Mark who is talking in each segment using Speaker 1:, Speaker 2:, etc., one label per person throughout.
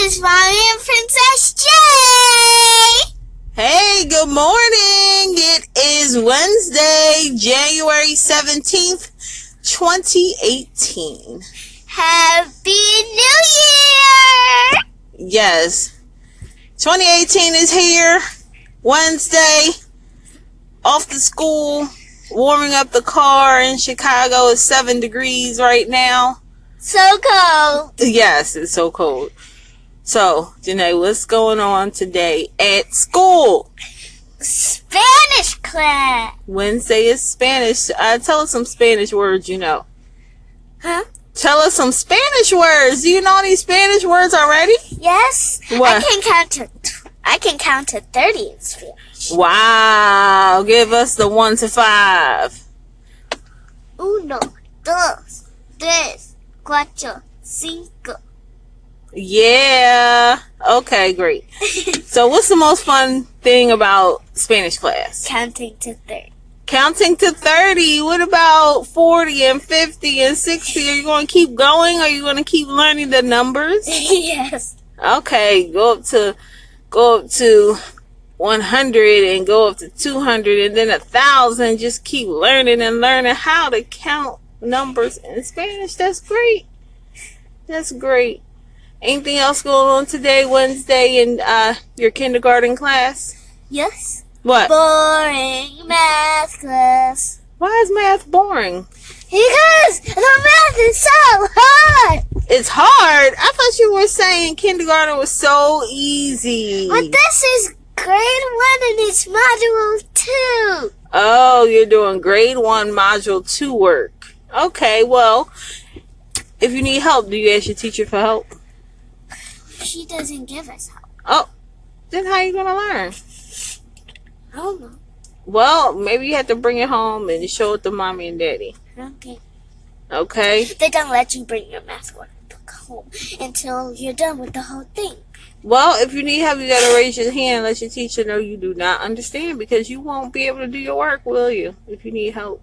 Speaker 1: is Mommy and Princess Jay.
Speaker 2: Hey, good morning. It is Wednesday, January 17th, 2018.
Speaker 1: Happy New Year!
Speaker 2: Yes, 2018 is here. Wednesday, off to school, warming up the car in Chicago. It's seven degrees right now.
Speaker 1: So cold.
Speaker 2: Yes, it's so cold. So, Janae, what's going on today at school?
Speaker 1: Spanish class.
Speaker 2: Wednesday is Spanish. Uh, tell us some Spanish words you know.
Speaker 1: Huh?
Speaker 2: Tell us some Spanish words. Do you know any Spanish words already?
Speaker 1: Yes. I
Speaker 2: What?
Speaker 1: can count to. Tw- I can count to thirty in Spanish.
Speaker 2: Wow. Give us the one to five.
Speaker 1: Uno, dos, tres, cuatro, cinco.
Speaker 2: Yeah. Okay, great. So, what's the most fun thing about Spanish class?
Speaker 1: Counting to thirty.
Speaker 2: Counting to 30. What about 40 and 50 and 60? Are you going to keep going? Are you going to keep learning the numbers?
Speaker 1: yes.
Speaker 2: Okay, go up to go up to 100 and go up to 200 and then a thousand. Just keep learning and learning how to count numbers in Spanish. That's great. That's great. Anything else going on today, Wednesday, in uh, your kindergarten class?
Speaker 1: Yes.
Speaker 2: What?
Speaker 1: Boring math class.
Speaker 2: Why is math boring?
Speaker 1: Because the math is so hard.
Speaker 2: It's hard. I thought you were saying kindergarten was so easy.
Speaker 1: But this is grade one and it's module two.
Speaker 2: Oh, you're doing grade one, module two work. Okay, well, if you need help, do you ask your teacher for help?
Speaker 1: She doesn't give us help.
Speaker 2: Oh, then how you gonna learn?
Speaker 1: I don't know.
Speaker 2: Well, maybe you have to bring it home and show it to mommy and daddy.
Speaker 1: I don't think
Speaker 2: Okay.
Speaker 1: they don't let you bring your math workbook home until you're done with the whole thing.
Speaker 2: Well, if you need help, you gotta raise your hand and let your teacher know you do not understand because you won't be able to do your work, will you? If you need help.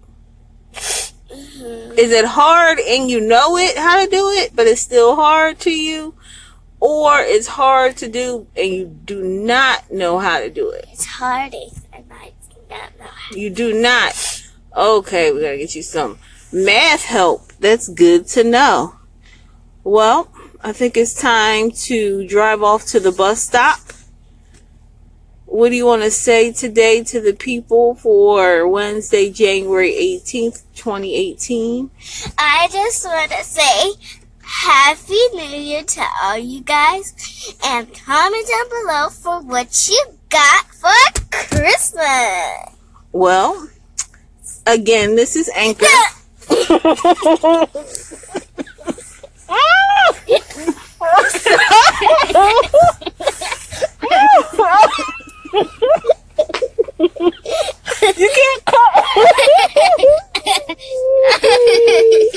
Speaker 1: Mhm.
Speaker 2: is it hard and you know it how to do it but it's still hard to you or it's hard to do and you do not know how to do it
Speaker 1: It's hard and I do not know how.
Speaker 2: you do not okay we gotta get you some math help that's good to know well i think it's time to drive off to the bus stop what do you want to say today to the people for wednesday january 18th 2018
Speaker 1: I just want to say Happy New Year to all you guys and comment down below for what you got for Christmas.
Speaker 2: Well, again, this is Anchor. you can't call.